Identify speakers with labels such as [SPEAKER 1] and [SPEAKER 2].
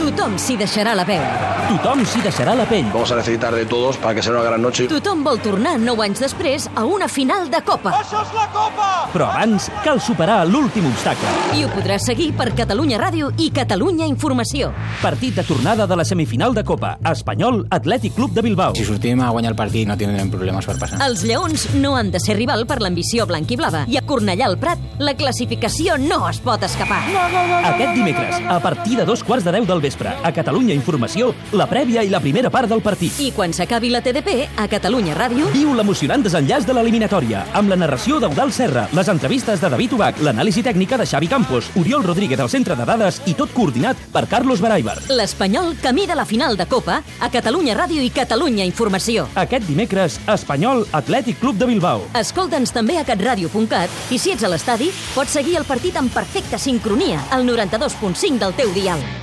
[SPEAKER 1] Tothom s'hi deixarà la veu.
[SPEAKER 2] Tothom s'hi deixarà la pell.
[SPEAKER 3] Vamos a necesitar de todos para que sea una gran noche.
[SPEAKER 1] Tothom vol tornar 9 anys després a una final de Copa.
[SPEAKER 4] Això és la copa!
[SPEAKER 2] Però abans cal superar l'últim obstacle.
[SPEAKER 1] I ho podrà seguir per Catalunya Ràdio i Catalunya Informació.
[SPEAKER 2] Partit de tornada de la semifinal de Copa. Espanyol Atlètic Club de Bilbao.
[SPEAKER 5] Si sortim a guanyar el partit no tindrem problemes per passar.
[SPEAKER 1] Els lleons no han de ser rival per l'ambició blanquiblava i a Cornellà al Prat la classificació no es pot escapar.
[SPEAKER 2] Aquest dimecres, a partir de dos quarts de deu del vespre, a Catalunya Informació, la prèvia i la primera part del partit.
[SPEAKER 1] I quan s'acabi la TDP, a Catalunya Ràdio,
[SPEAKER 2] Viu l'emocionant desenllaç de l'eliminatòria, amb la narració d'Eudal Serra, les entrevistes de David Ubach, l'anàlisi tècnica de Xavi Campos, Oriol Rodríguez al centre de dades i tot coordinat per Carlos Baraibar.
[SPEAKER 1] l'Espanyol camí de la final de Copa a Catalunya Ràdio i Catalunya Informació.
[SPEAKER 2] Aquest dimecres, Espanyol Atlètic Club de Bilbao.
[SPEAKER 1] Escolta'ns també a catradio.cat i si ets a l'estadi, pots seguir el partit en perfecta sincronia al 92.5 del teu dial.